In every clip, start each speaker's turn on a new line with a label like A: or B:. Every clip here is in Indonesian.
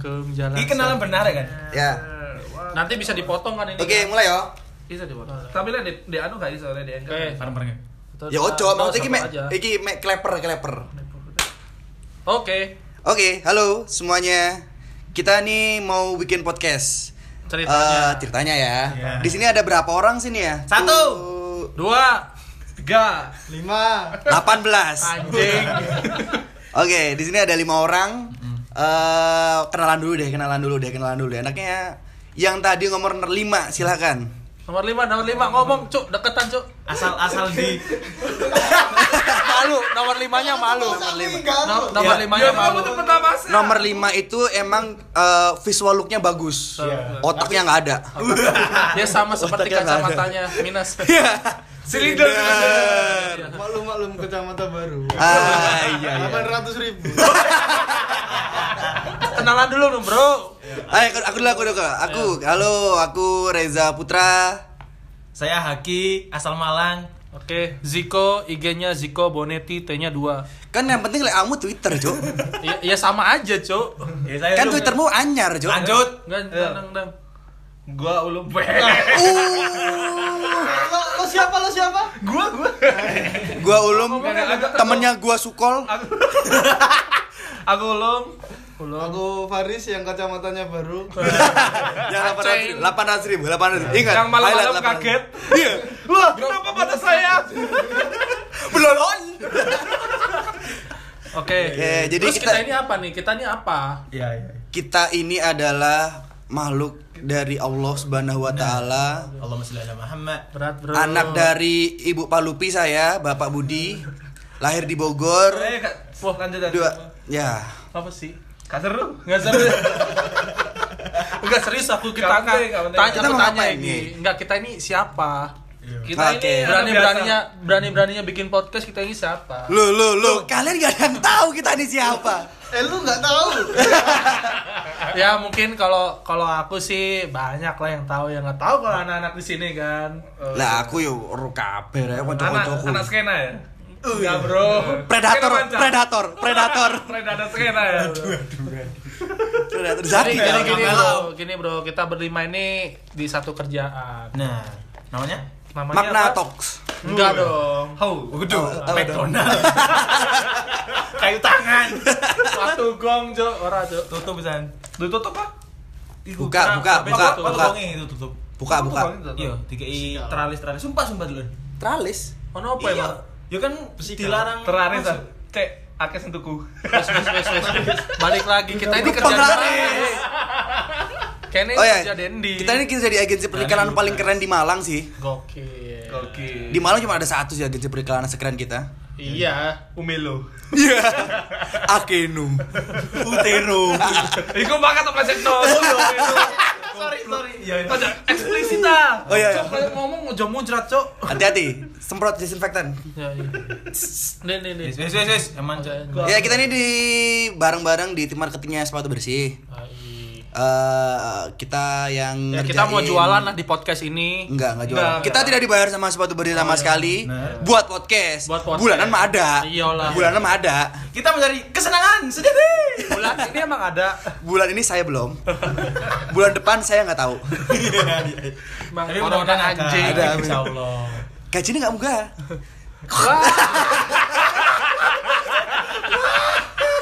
A: ke jalan.
B: Ini kenalan benar ya kan?
C: Ya.
A: Nanti bisa dipotong kan ini.
C: Oke, mulai ya. yo.
D: Bisa dipotong.
B: Oh.
D: Tapi lah di, di anu gak iso lah di anchor.
A: Oke.
B: Bareng-bareng.
C: Ya
A: eh,
C: ojo, Eh. maksudnya iki
A: Satu
C: mek
A: aja.
C: iki mek kleper kleper.
A: Oke.
C: Oke, halo semuanya. Kita nih mau bikin podcast.
A: Ceritanya.
C: Eh, ceritanya ya.
B: Iya.
C: Di sini ada berapa orang sini ya?
B: Satu.
C: Tuh,
A: Dua.
D: Tiga.
C: 18.
A: Anjing.
C: Oke, di sini ada lima orang. Eh kenalan dulu deh, kenalan dulu deh, kenalan dulu. deh. Enaknya yang tadi nomor 5 silakan.
A: nomor lima, nomor lima ngomong cuk deketan cuk.
B: Asal asal di
A: Malu, nomor limanya malu.
C: Nomor lima.
A: No- nomor
C: Ya.
A: limanya
B: Iya,
A: malu.
D: pertama sih.
C: Nomor 5 itu emang eh, visual looknya bagus. Otaknya nggak ada.
A: Dia ya, sama seperti
C: Otaknya nggak ada.
A: kacamatanya minus.
B: Iya. silinder.
C: Iya.
E: Maklum-maklum kacamata baru.
C: Ah, iya, iya.
E: 800 ribu.
A: Kenalan dulu dong, Bro.
C: Ayo, aku, aku dulu, aku dulu. Aku, halo, aku Reza Putra.
B: Saya Haki asal Malang.
A: Oke, Ziko IG-nya Ziko Bonetti T-nya 2.
C: Kan yang penting like kamu Twitter, Cuk.
A: Ya, sama aja, Cuk.
B: Ya saya
C: Kan
B: Ulum.
C: Twittermu anyar, Cuk.
B: Lanjut.
C: Eh.
A: Enggak,
B: Ayo.
A: enggak, enggak.
B: Gua ulum.
C: Uh,
E: Lo, lo siapa lo siapa?
B: gua gua.
C: gua ulum temennya gua sukol
B: Aku ulum.
E: Aku Faris yang kacamatanya baru.
C: yang 800 ribu 800 Ya, ribu 800 ribu ingat
B: Yang malam-malam
C: highlight 800 ribu.
B: kaget.
C: iya
B: Wah, kenapa pada saya?
C: belolon
A: Oke.
C: Oke, jadi
A: Terus kita,
C: kita-
A: ini apa nih? Kita ini apa?
B: Iya, iya.
C: kita ini adalah makhluk dari Allah Subhanahu wa taala
B: Allahumma shalli ala Muhammad.
A: Berat, Bro.
C: anak dari Ibu Palupi saya Bapak Budi lahir di Bogor
B: Eh, Kak. Wah, lanjut lanjut.
C: dua
A: ya,
C: ya
A: apa sih?
B: Kak seru.
A: Enggak serius. Enggak serius aku kita
B: Nggak
A: enggak
B: penting, nggak penting.
A: tanya
C: Kita
A: aku
C: mau
A: tanya
C: ngapain
A: ini.
C: nih?
A: Enggak, kita ini siapa?
B: Kita
C: Oke.
B: ini
A: Berani beraninya berani beraninya bikin podcast kita ini siapa?
C: lu lu lu kalian gak ada yang tahu kita ini siapa
E: Eh lu nggak tahu.
A: ya mungkin kalau kalau aku sih banyak lah yang tahu yang nggak tahu kalau anak-anak di sini kan. Eh,
C: lah aku yo ro kabeh rek
B: anak anak
C: kanca-kancaku
B: skena ya. Enggak, Bro.
C: Iya. predator
B: Skena manca.
C: predator predator
B: Predator skena ya.
C: predator
A: Jadi
C: zaki
A: gini,
C: kan?
B: Jangan
A: gini,
B: galau.
A: bro, gini bro, kita berlima ini di satu kerjaan.
B: Nah, namanya
A: Namanya
C: makna
A: apa?
C: toks
A: Enggak dong.
B: How? Waduh,
C: Oh, apa
B: McDonald. Kayu tangan.
A: Satu gong jo, ora jo.
B: Tutup pisan. Ditutup apa? Iku,
C: Buka,
B: tra-
C: buka,
B: apa-
C: buka,
B: apa
C: buka.
B: bonge itu tutup.
C: Buka,
B: Apa
C: buka.
B: bonge itu tutup? Iya, dikei teralis teralis. Sumpah sumpah dulu.
C: tralis
A: Ono apa
B: Iya.
A: ya?
B: Ya kan dilarang
D: Teralis,
B: masuk. Cek, akeh sentuhku.
A: Wes, wes, wes, wes. Balik lagi kita ini kerja
C: Penglaris.
A: keras. Kene
C: Oh ya,
A: kerja Dendi.
C: kita ini kita jadi agensi perikanan paling keren di Malang sih.
A: gokil.
B: Oke.
C: Di Malang cuma ada satu sih agensi perikanan sekeren kita.
A: Iya.
B: Umelo.
C: Iya. Akenum. Utero.
B: Iku makan apa sih no? Sorry, sorry. Iya, iya.
A: Ada eksplisit ah.
C: Oh, iya, iya.
A: Cok, kalau ngomong ojo muncrat, Cok.
C: Hati-hati, semprot disinfektan.
A: Ya, iya. Nih, nih, nih.
B: Wes
C: Iya.
B: wes wes wes, emang
A: Oke.
B: Gua-
C: Ya, kita ini di bareng-bareng di tim marketingnya sepatu bersih.
A: Ah, iya.
C: Eh kita yang
A: Ya, kita mau
C: ngerjain-
A: jualan lah di podcast ini.
C: Enggak, enggak jualan.
A: Enggak, enggak.
C: kita
A: Oh, iya.
C: tidak dibayar sama sepatu bersih sama sekali.
B: Benar.
C: Buat podcast.
A: Buat podcast. Iya
C: Bulanan mah ada.
A: Iyalah.
C: Bulanan mah ada.
B: Kita mencari kesenangan sendiri.
A: Bulan ini emang ada.
C: Bulan ini saya belum. Bulan depan saya nggak tahu.
A: Emang
B: Tapi
A: orang
B: mudah-mudahan ada.
A: anjing.
C: Ada, amin.
B: insyaallah.
C: Gajinya nggak munggah.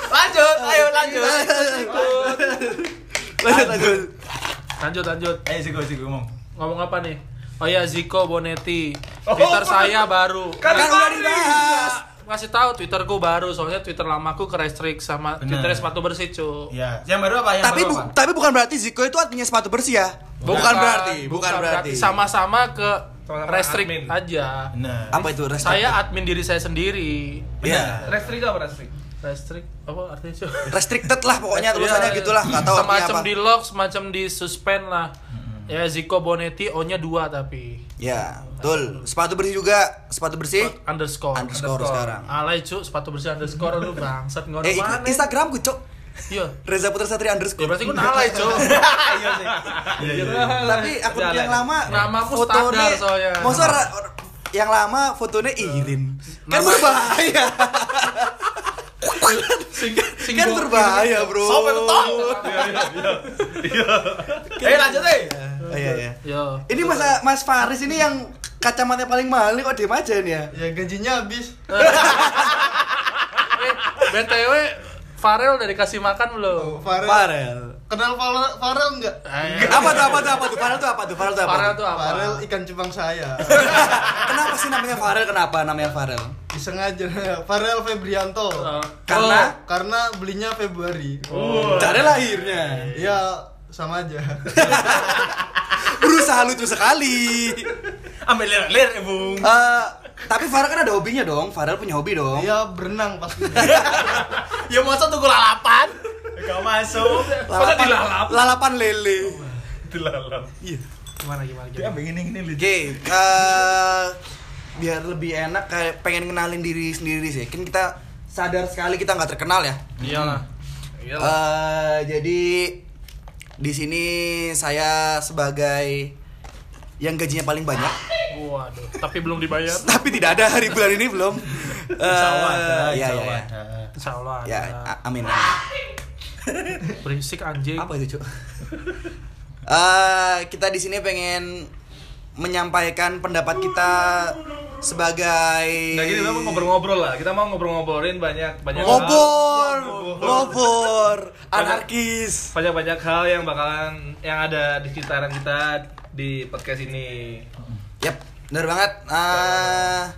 B: Lanjut, ayo lanjut.
C: Lanjut, lanjut.
A: Lanjut, lanjut.
B: Ayo sih gue sih ngomong.
A: Ngomong apa nih? Oh ya Ziko Bonetti.
C: Oh,
A: Twitter saya baru.
C: Kan udah dibahas.
A: ngasih tahu Twitterku baru soalnya Twitter lamaku ke restrict sama
B: Bener.
A: Twitter sepatu bersih cu
B: Iya. Yang baru apa? Yang
C: Tapi
B: baru
C: bu-
B: apa?
C: tapi bukan berarti Ziko itu artinya sepatu bersih ya. Bukan berarti, bukan berarti.
A: sama-sama ke
D: Sama-sama
A: restrict
D: admin.
A: aja
B: Nah.
C: Apa itu restrict?
A: saya admin diri saya sendiri
C: ya.
D: Restri gak apa restri?
A: restrict apa artinya cu
C: Restricted lah pokoknya tulisannya
A: Iya,
C: gitulah, nggak tahu artinya
A: semacam
C: apa.
A: di lock semacam di suspend lah ya Ziko Bonetti O nya dua tapi
C: Ya, betul. Sepatu bersih juga, sepatu bersih
A: underscore
C: Eh, underscore sekarang.
A: alay cu sepatu bersih underscore lu bangsat ngono
C: Eh,
A: mana
C: Instagram gue, Cok.
A: iya
C: Reza Putra Satria
A: ya
C: underscore.
A: berarti gue alay cu
B: Iya sih. Iya, iya.
C: Tapi akun
B: Jalan.
C: yang lama
A: Namaku
C: fotonya
A: standar soalnya.
C: Masa ra- yang lama fotonya Irin. Kan berbahaya.
A: Sing, sing Iya,
C: Kan
A: bokir.
C: berbahaya, bro.
A: Sobek tong.
B: Eh lanjut eh.
C: Oh, iya, iya.
A: Yo.
C: Ini Mas Mas Faris ini yang kacamata paling mahal nih kok diem aja nih ya.
E: Ya gajinya habis.
A: Eh, BTW Farel udah dikasih makan belum?
E: Oh, Farel.
C: Farel.
E: Kenal Farel, Farel enggak?
A: Eh,
C: Apa tuh apa tuh apa tuh? Farel tuh apa tuh? Farel tuh apa?
A: Farel
C: tuh?
A: tuh apa?
E: Farel ikan cupang saya.
C: Kenapa sih namanya Farel? Kenapa namanya Farel?
E: Disengaja. Farel Febrianto.
A: Oh.
C: Karena-
E: karena belinya Februari.
C: Cara lahirnya.
E: Ya sama aja.
C: Berusaha lucu sekali.
B: Ambil lir-lir, Bung.
C: Eh, tapi Farel kan ada hobinya dong. Farel punya hobi dong.
A: Iya.
E: Ya berenang pasti.
B: Ya masa tunggu lalapan? Gak masuk. Masa dilalap?
C: lalapan lele.
B: Dilalap.
C: Iya.
A: gimana gimana
B: Dia
A: gimana?
B: begini gini lucu.
C: Oke, eh, biar lebih enak kayak pengen kenalin diri sendiri sih. Kan kita sadar sekali kita nggak terkenal ya.
A: Iyalah.
C: Hmm. Eh, jadi di sini saya sebagai yang gajinya paling banyak, Eh.
A: Waduh, tapi belum dibayar.
C: tapi tidak ada hari bulan ini belum. Eh, ya, ya, ya.
A: Insya Allah ada.
C: Ya, a- amin. amin.
A: Berisik anjing.
C: Apa itu, Cuk? Eh, kita di sini pengen menyampaikan pendapat kita sebagai
D: Nah gini kita mau ngobrol-ngobrol lah. Kita mau ngobrol-ngobrolin banyak banyak hal,
C: ngobor, ngobor, anarkis.
D: banyak-banyak hal yang bakalan yang ada di sekitaran kita di podcast ini.
C: Yap, benar banget. Ah,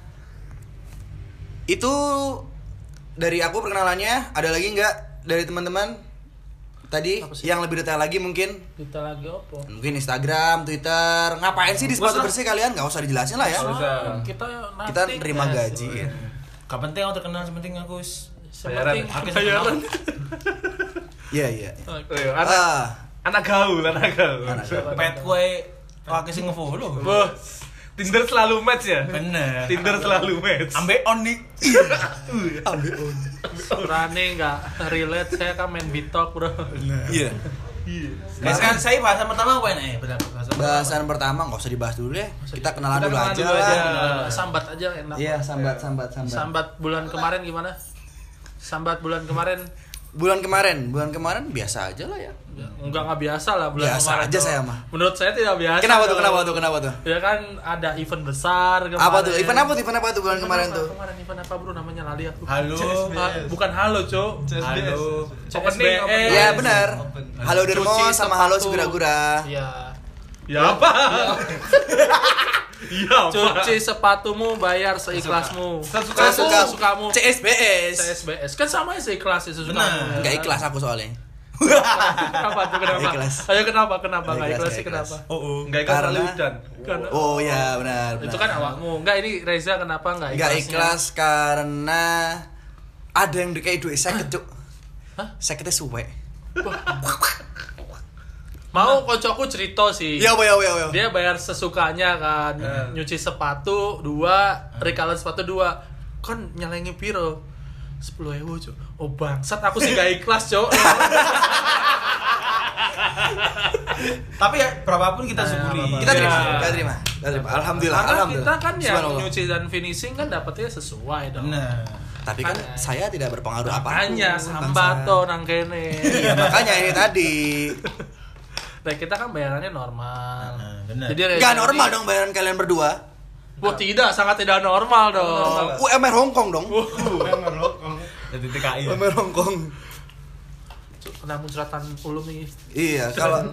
C: itu dari aku perkenalannya. Ada lagi nggak dari teman-teman tadi
A: Apa sih?
C: yang lebih detail lagi mungkin?
A: Kita lagi opo?
C: Mungkin Instagram, Twitter. Ngapain sih di sepatu bersih kalian? Gak usah dijelasin lah ya.
D: Nggak usah.
A: Nah, Kita nanti Iya.
C: Kita nerima gaji. ya.
B: Gak penting aku terkenal, sementing aku s-
D: Bayaran.
A: Seperti
B: Aku
A: bayaran.
C: Iya iya.
D: Oh, iya, Anak,
C: Ah,
D: anak gaul, anak gaul.
C: Anak gaul.
B: pet kue pakai sing ngefollow.
D: Bos, Tinder selalu match ya?
B: Bener.
D: Tinder selalu match.
B: Ambe on nih.
C: ambil on.
A: Rani nggak relate saya kan main bitok bro.
C: Iya.
B: Nah, sekarang saya bahasan pertama apa nih? Benar, bahasan pertama.
C: Bahasan pertama nggak usah dibahas dulu ya. Kita kenalan
D: Kita
C: dulu
D: kenalan
C: aja
D: dulu aja.
C: lah.
A: Ya, Sambat aja enak.
C: Iya, sambat sambat sambat.
A: Sambat bulan kemarin gimana? Sambat bulan kemarin
C: Bulan kemarin, bulan kemarin biasa aja lah ya.
A: enggak nggak biasa lah bulan
C: Biasa
A: kemarin.
C: aja
A: tuh.
C: saya mah.
A: Menurut saya tidak biasa.
C: Kenapa tuh?
A: dong.
C: Kenapa tuh? Kenapa tuh?
A: Ya kan ada event besar kemarin.
C: Apa tuh? Event apa tuh? Event apa tuh bulan
A: Event
C: kemarin
A: apa?
C: tuh?
A: Kemarin event apa bro namanya lali aku.
B: Halo.
A: Ah, bukan halo, Cok.
E: CSBS.
B: Halo.
D: Opening, opening.
C: Ya benar. Halo Dermo
A: Cuci
C: sama
A: sepatu.
C: Halo Segura-gura.
A: Iya.
D: Ya apa? Ya apa?
A: Cuci sepatumu bayar seikhlasmu.
D: Sesuka-
A: Sesuka-
C: Sesuka
A: Sesukamu.
C: CSBS.
A: CSBS kan sama ya seikhlas ya sesuka.
B: Benar.
C: Enggak ikhlas aku soalnya.
A: Kenapa tuh kenapa?
C: Nggak ikhlas.
A: Ayo kenapa kenapa
C: Nggak
A: enggak
C: ikhlas,
A: ikhlas sih
C: nggak ikhlas.
A: kenapa?
B: Oh, oh.
D: Enggak ikhlas
C: Karena-
D: lalu hujan.
A: Karena
C: Oh ya benar. benar.
A: itu kan awakmu. Enggak ini Reza kenapa enggak
C: Enggak
A: ikhlas?
C: ikhlas karena ada yang dikai duit saya kecuk.
A: Hah?
C: Saya kete suwe.
A: Mau kocokku cerita sih.
C: Ya ya ya ya.
A: Iya. Dia bayar sesukanya kan.
C: Eh.
A: Nyuci sepatu dua, rekalan sepatu dua. Kan nyalengi piro? 10 ewu, Cok. Oh, bangsat aku sih gak ikhlas, Cok.
B: Tapi ya berapapun kita syukuri.
C: Kita terima,
A: Ya.
C: kita terima. Kita terima. Alhamdulillah,
A: Karena kita
C: alhamdulillah.
A: kan yang
C: Subhanallah.
A: nyuci dan finishing kan dapetnya sesuai dong.
B: Nah.
C: Tapi kan
A: Makanya.
C: saya tidak berpengaruh apa.
A: Hanya sambato nang kene.
C: Ya makanya ini tadi.
A: Nah, kita kan bayarannya normal.
B: Nah, bener.
A: Reza
C: Enggak normal
A: ini-
C: dong bayaran kalian berdua.
A: Wah, tidak, sangat tidak normal dong.
C: UMR Hongkong dong. Iya.
B: Jadi TKI. ya.
C: UMR Hongkong.
A: Kena muncratan ulum nih.
C: Iya, kalau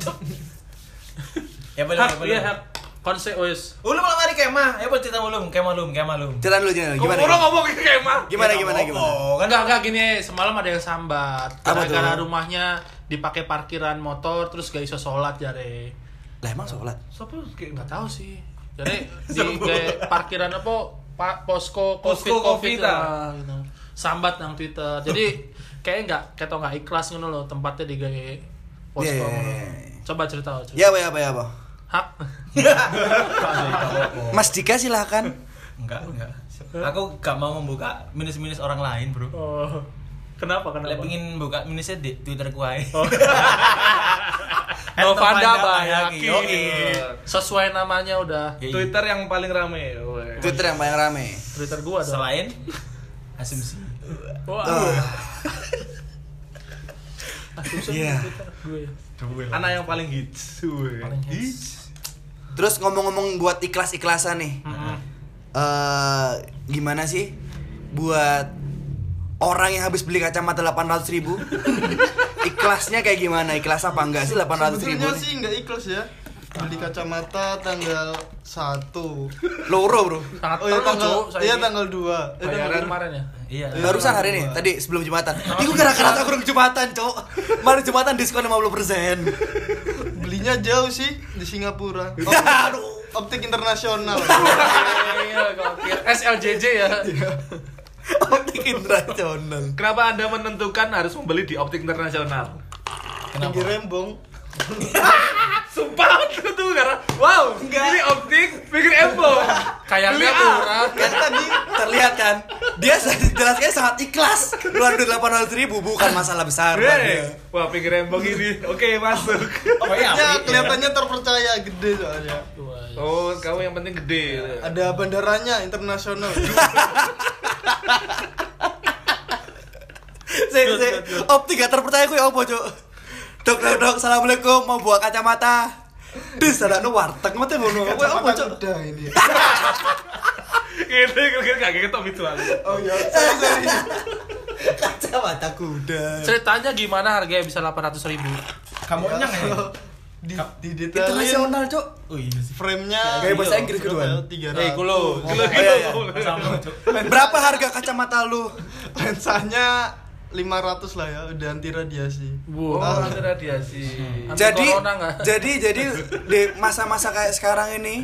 B: Ya boleh,
A: Hak,
B: boleh.
A: iya hak. Konsep wis.
B: Ulum lah mari kemah. Ya boleh cerita ulum, kemah ulum, kemah ulum.
C: cerita dulu cerita dulu. gimana?
A: Orang ngomong kayak mah.
C: Gimana
B: Ya,
C: gimana
B: nggak
C: gimana?
B: apa-apa, kan
A: Oh, Enggak, enggak gini, semalam ada yang sambat.
C: Apa tuh?
A: Gara-gara rumahnya dipakai parkiran motor terus gak iso sholat jare.
C: Lah emang sholat.
A: Siapa kayak enggak tahu sih. Jadi di kayak parkiran apa Pak posko covid
D: Posko
A: covid
D: Covid,
A: lah,
D: ah.
A: gitu. Sambat nang Twitter. Jadi kayak enggak ketok enggak ikhlas ngono loh tempatnya di gawe posko.
C: Iya, iya,
A: ngono.
C: iya, iya.
A: Coba cerita, cerita.
C: Ya apa ya apa ya apa?
A: Hak.
C: Mas Dika silahkan.
B: Enggak, enggak. Aku gak mau membuka minus-minus orang lain, Bro.
A: Oh. Kenapa kenapa?
B: Lek pengin buka minusnya di Twitter ku ae.
A: Novanda
B: Novanda
C: ya,
A: Bayaki.
B: Bayaki.
A: Sesuai namanya udah.
B: Ya, iya.
D: Twitter yang paling rame. weh.
C: Twitter yang
A: ya.
C: paling rame.
A: Twitter gua dong.
D: Oh, Ah.
B: Selain asumsi.
A: Wah.
C: Ah.
A: Ah, susah
C: Iya.
A: nih, Twitter. Gue ya.
D: Anak yang paling hits. weh.
A: Paling hits.
C: Terus ngomong-ngomong buat ikhlas-ikhlasan nih.
A: Mm-hmm.
C: Eh, gimana sih buat orang yang habis beli kacamata 800 ribu ikhlasnya kayak gimana ikhlas apa enggak sih 800 ribu
E: Sebetulnya sih nggak ikhlas ya. Beli kacamata tanggal 1
C: loro bro
A: Sangat
E: Oh iya
A: perlu,
E: tanggal,
A: Cuk, saya
E: iya
A: ini.
E: tanggal 2 eh,
A: Bayaran
E: tanggal
A: kemarin ya.
B: Iya.
E: Iya.
C: barusan hari ini tadi sebelum jumatan itu gara-gara tak kurang jumatan cok kemarin jumatan diskon 50 persen
E: Belinya jauh sih di Singapura. Op- Optik internasional.
A: Iya, gokil. SLJJ ya.
C: optik internasional
D: Kenapa Anda menentukan harus membeli di optik internasional?
E: Tinggi rembong.
D: Sumpah itu karena wow, ini optik pikir embol.
A: Kayaknya
D: Beli, ah.
A: murah.
C: kan tadi terlihat kan dia sa- jelasnya sangat ikhlas keluar duit 800 ribu bukan masalah besar buat dia.
D: Hei, Iya. wah pikir embol ini. Oke, masuk.
A: Oh,
B: iya,
E: Optiknya
B: ya?
E: kelihatannya terpercaya gede soalnya.
A: iya.
D: Oh, kamu yang penting gede.
E: Ada bandaranya internasional.
C: Saya saya optik gak terpercaya gue apa cok. Dok dok dok, assalamualaikum mau buat kacamata. Dis ada nu warteg mah teh ngono. Gue apa
E: Kacamata
C: cok?
E: kuda ini.
D: Gitu, gue kira kaget top itu
E: Oh iya, sorry sorry.
C: Kacamata kuda.
A: Ceritanya gimana harganya bisa 800 ribu?
B: Kamu enyang ya?
E: Di di detailin
C: Internasional cok.
B: Oh iya sih.
E: frame-nya. iya,
C: Kayak bahasa Inggris keduaan.
E: Tiga
A: Eh, kulo.
E: ratus.
D: Gila,
C: Oh, iya,
D: gila.
C: iya.
B: Sama, Cuk.
C: Berapa harga kacamata lu?
E: Lensanya 500 lah ya, udah anti radiasi.
D: Oh,
A: Wow.
D: ada radiasi.
A: Anti
C: Jadi
A: corona nggak?
C: jadi jadi di masa-masa kayak sekarang ini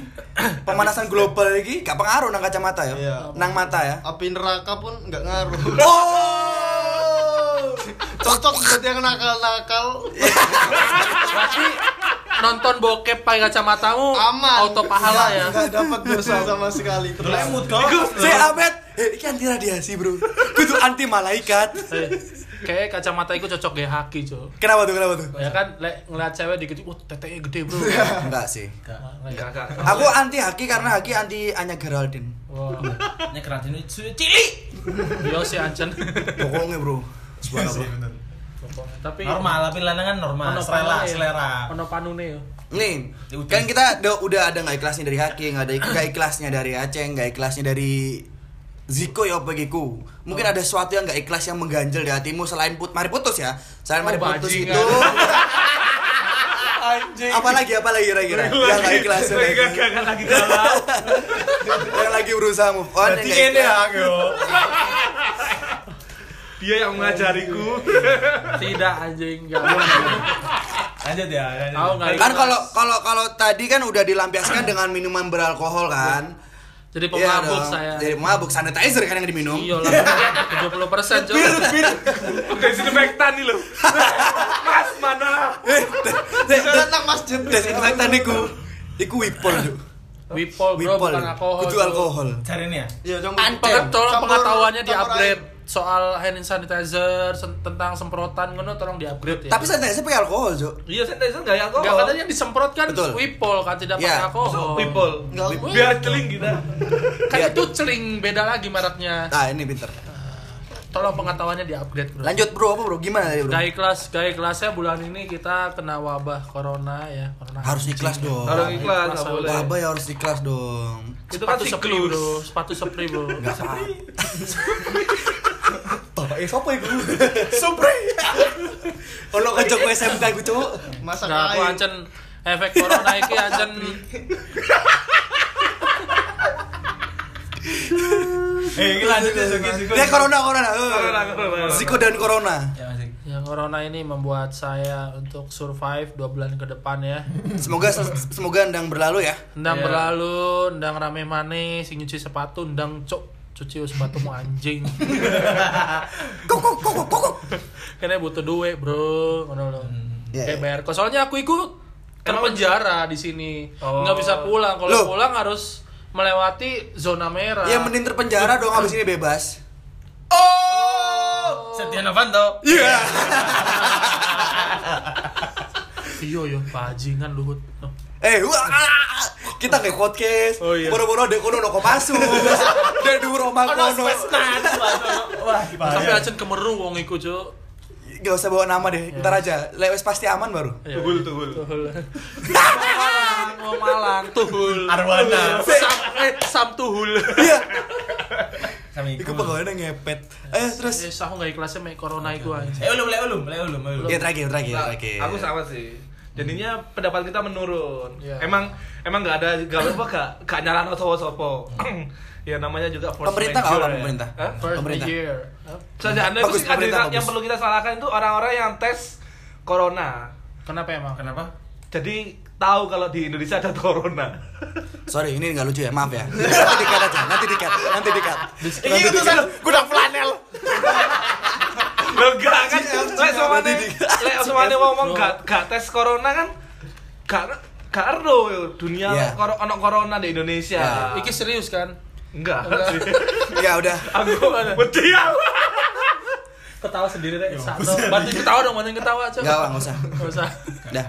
C: pemanasan global lagi gak pengaruh nang kacamata ya.
E: Iya.
C: Nang mata ya.
E: Api neraka pun nggak ngaruh.
C: Oh!
E: Cocok buat yang nakal-nakal.
A: Berarti nonton bokep pakai kacamatamu
E: aman
A: auto pahala ya.
C: Iya.
E: nggak dapat dosa sama sekali terus
B: Lemut kau.
C: Saya Abed, eh, ini anti radiasi bro. Kudu anti malaikat.
A: Eh, Kayak kacamata itu cocok gaya haki, Cok.
C: Kenapa tuh? Kenapa tuh?
A: Ya kan, lek ngeliat cewek dikit, wah tetenya gede, Bro.
C: Iya. Enggak sih.
A: Nah,
D: Enggak,
A: kayak-
D: enggak.
C: Aku anti Haki karena Haki anti Anya Geraldine.
A: Wah,
B: Ini keratin itu cili.
A: iya sih Ancen.
C: Bohongnya bro.
B: Iya sih, bener.
A: Tapi
B: Normal, tapi lanangan normal. Selera,
A: panune ya.
B: selera.
A: Ono panune ya.
C: Nih, kan kita udah, udah ada nggak ikhlasnya dari Haki, nggak ada nggak ikhlasnya dari Aceh, nggak ikhlasnya dari Ziko ya bagiku.
A: Oh.
C: Mungkin ada sesuatu yang nggak ikhlas yang mengganjel di hatimu selain put mari putus ya. Selain
A: Oh,
C: mari putus
A: bajingan.
C: itu. Apalagi apalagi kira-kira yang nggak ikhlas yang nggak ikhlas.
D: Gagal lagi galau.
C: yang lagi berusaha move on. yang
B: Berarti
C: nggak
B: ini
C: ikhlas.
B: ya, yo.
D: Dia yang mengajariku.
A: Tidak anjing, enggak.
B: Lanjut ya. lanjut.
A: Aku enggak.
C: Kan kalau kalau kalau tadi kan udah dilampiaskan dengan minuman beralkohol kan.
A: jadi
C: Iya
A: pemabuk
C: dong.
A: saya.
C: Jadi mabuk sanitizer kan yang diminum.
A: Iya lah, 70% Cok.
D: Udah disinfektan nih lo. Mas mana?
E: Sekarang nang masjid
C: Desinfektan iku. Iku Wipol, Cuk.
A: Wipol bro,
C: Wipol.
A: bukan alkohol.
C: Kudu
A: Cok.
C: alkohol.
B: Cari ini ya.
E: Iya, dong.
A: Pengen tolong
E: Campur-
A: pengetahuannya di
E: campur
A: upgrade soal hand sanitizer sen- tentang semprotan ngono tolong di upgrade ya.
C: Tapi sanitizer pakai alkohol, Cuk.
D: Iya, sanitizer enggak ya
A: Enggak
D: alkohol.
A: katanya yang disemprot kan
C: Betul.
A: wipol kan tidak
C: Iya.
A: pakai alkohol.
D: People.
E: Nggak
D: Biar celing kita.
A: Kan
C: Iya.
A: itu celing beda lagi mereknya.
C: Nah, ini pinter.
A: Tolong pengetahuannya di upgrade bro.
C: Lanjut, Bro. Apa, Bro? Gimana tadi, Bro?
A: Gaya kelas, gaya kelasnya ya. bulan ini kita kena wabah corona ya. Corona
C: Harus
A: anjing.
C: ikhlas dong.
D: Kalau ikhlas enggak
A: Masa
D: boleh.
C: Wabah ya harus ikhlas dong.
D: Itu kan
A: Sepatu sepri
D: siklus.
A: bro, sepatu sepri bro.
C: Enggak apa. Bapak eh sapa iku? Supri. Ono kejok SMK iku, Cuk.
E: Masak
A: Nah, aku
E: air.
A: ancen efek corona iki ancen
B: Eh, ini lanjut ya, Ziko, Ziko.
C: Dia corona corona. eh.
D: Corona, corona.
C: Ziko dan corona.
B: Ya, masih.
A: ya corona ini membuat saya untuk survive dua bulan ke depan ya.
C: Semoga semoga endang berlalu ya.
A: Ndang
D: Iya.
A: berlalu, ndang rame maneh, sing nyuci sepatu, ndang cok cuci sepatumu anjing.
C: Kok kok kok kok, kok kok.
A: Kayaknya butuh duit, Bro. Ngono lho.
C: Iya,
A: Kayak
C: iya.
A: bayar kos. Soalnya aku ikut terpenjara di sini.
D: Oh.
A: Nggak bisa pulang. Kalau
C: Loh.
A: pulang harus melewati zona merah.
C: Ya mending terpenjara dong abis ini bebas.
B: Setia Novanto.
C: Iya.
A: Iya, iya, bajingan Luhut. Noh.
C: Eh, wah, ah, kita kayak podcast.
A: Oh, iya.
C: Boro-boro dek kono noko pasu. Dek duro mangkono.
B: Wah,
A: Sampai
B: bahaya.
A: acen kemeru wong iku, Cuk.
C: gak usah bawa nama
A: Iya.
C: deh, ntar aja. Lewes pasti aman baru.
E: Tugul, tugul.
A: Tuhul. Malang, mau Malang, Tuhul.
B: Arwana.
A: Sam, eh, Sam Tuhul.
C: Iya,
B: Sami.
A: Iya.
C: itu pegawainya ngepet. Eh terus,
A: Eh, aku nggak ikhlasnya mek corona itu aja.
B: Eh ulum, le ulum, le ulum, le ulum.
C: ya terakhir, terakhir,
D: Nah,
C: terakhir.
D: aku sama sih jadinya
C: Hmm.
D: pendapat kita menurun
A: Iya.
D: emang emang nggak ada nggak apa gak gak nyalain sopo sopo ya namanya juga force
C: Hmm. Pemerintah nggak
D: majeure
C: apa-apa,
D: ya.
C: pemerintah?
D: Hah?
A: First
C: Pemerintah.
A: year.
D: saja anda itu
C: Bagus,
D: sih ada
C: pemerintah
D: yang, yang
C: bagus.
D: perlu kita salahkan itu orang-orang yang tes corona
A: Kenapa emang?
B: Kenapa?
D: jadi tahu kalau di Indonesia ada corona
C: Sorry, ini nggak lucu ya, maaf ya. Nanti dikat aja, nanti dikat, nanti dikat.
D: Iya,
C: Nanti
E: Ini
C: dikat.
E: utusan gudang flanel.
D: lo enggak kan
C: Iya,
D: lek somane lek somane
A: Bro.
D: ngomong gak gak tes corona kan gak gak ero yo, dunia
C: Iya.
D: kor- ono corona di Indonesia
A: Iki serius kan?
D: enggak sih.
C: Ya udah,
D: aku wedi aku.
A: Ketawa sendiri deh. Satu. Bantuin ketawa dong, bantuin ketawa coba.
C: nggak Bang, nggak usah.
A: Nggak usah.
C: Dah,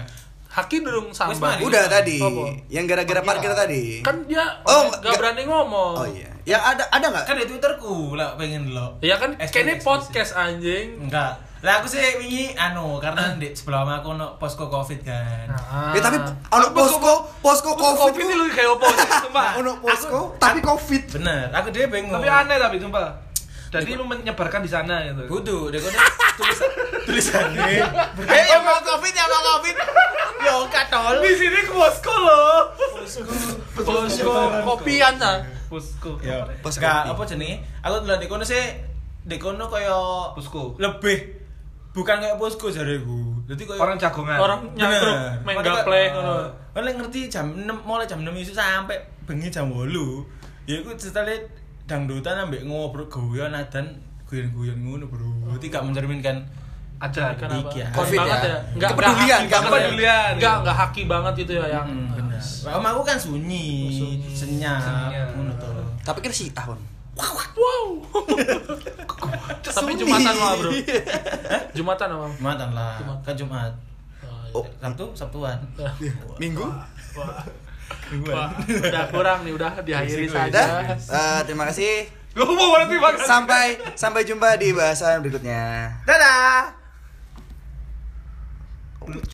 A: Haki durung sambat.
C: udah tadi.
A: Iya. Apa?
C: Yang gara-gara parkir tadi.
A: Kan dia
C: Oh,
A: nggak
C: nggak-
A: berani ngomong.
C: Oh iya, yang ada ada nggak?
B: Kan di Twitterku lah pengen lo.
A: Ya kan,
B: Eksklusif,
A: kayaknya
B: eksklusif.
A: podcast anjing.
B: Enggak. Lah aku sih wingi anu karena di sebelum aku ono posko Covid kan.
C: Ya tapi
A: Nah. Ah.
C: ono posko, posko
D: Covid
C: covid
D: ini lu kayak opo sih, sumpah.
C: ono posko Nah, tapi covid.
B: Bener, aku dia bingung.
D: Tapi aneh tapi sumpah. Jadi lu menyebarkan di sana gitu.
B: Kudu, dia kono tulisan tulisannya.
E: Eh, ya mau covid, ya mau covid. Yo, katol.
D: Di sini ke posko loh.
A: Posko kopian nah.
D: Posko.
B: Yo,
C: Posko.
B: enggak apa jenenge? Aku dulu di kono sih di kono koyo
D: Posko.
B: lebih bukan kayak posko jareku. Jadi koyo
D: Orang
C: Nah.
D: jagongan.
A: Orang nyatruk main gaple
C: Ah.
A: ngono.
B: Kan ngerti jam 6 mulai jam 6 isuk sampai bengi jam 8. Ya iku ceritane dangdutan ambek ngobrol guyon adan guyon-guyon ngono, Bro. Jadi gak mencerminkan
D: ada kan
B: Iki ya.
A: Covid
C: Covid
A: banget
B: ya.
A: ya. Enggak
C: Kepedulian,
D: kepedulian.
A: Enggak enggak haki banget gitu ya yang.
B: Hmm, bener. Lah, Om aku kan sunyi,
A: Sunyi.
B: senyap,
D: Senyap.
B: ngono to.
C: Tapi kan sih tahun.
A: Wow. Tapi
C: Sunyi.
A: Jumatan mah, Bro.
C: Iya.
A: Jumatan mah.
B: Jumatan lah,
A: Jumat.
B: kan Jumat.
C: Oh.
B: Sabtu, Sabtuan.
C: Minggu?
A: Wah, udah kurang nih, udah
C: Iya
A: diakhiri saja.
C: Dah. Eh, terima kasih.
D: Lu mau berarti makan.
C: Sampai sampai jumpa di bahasan berikutnya.
B: Dadah.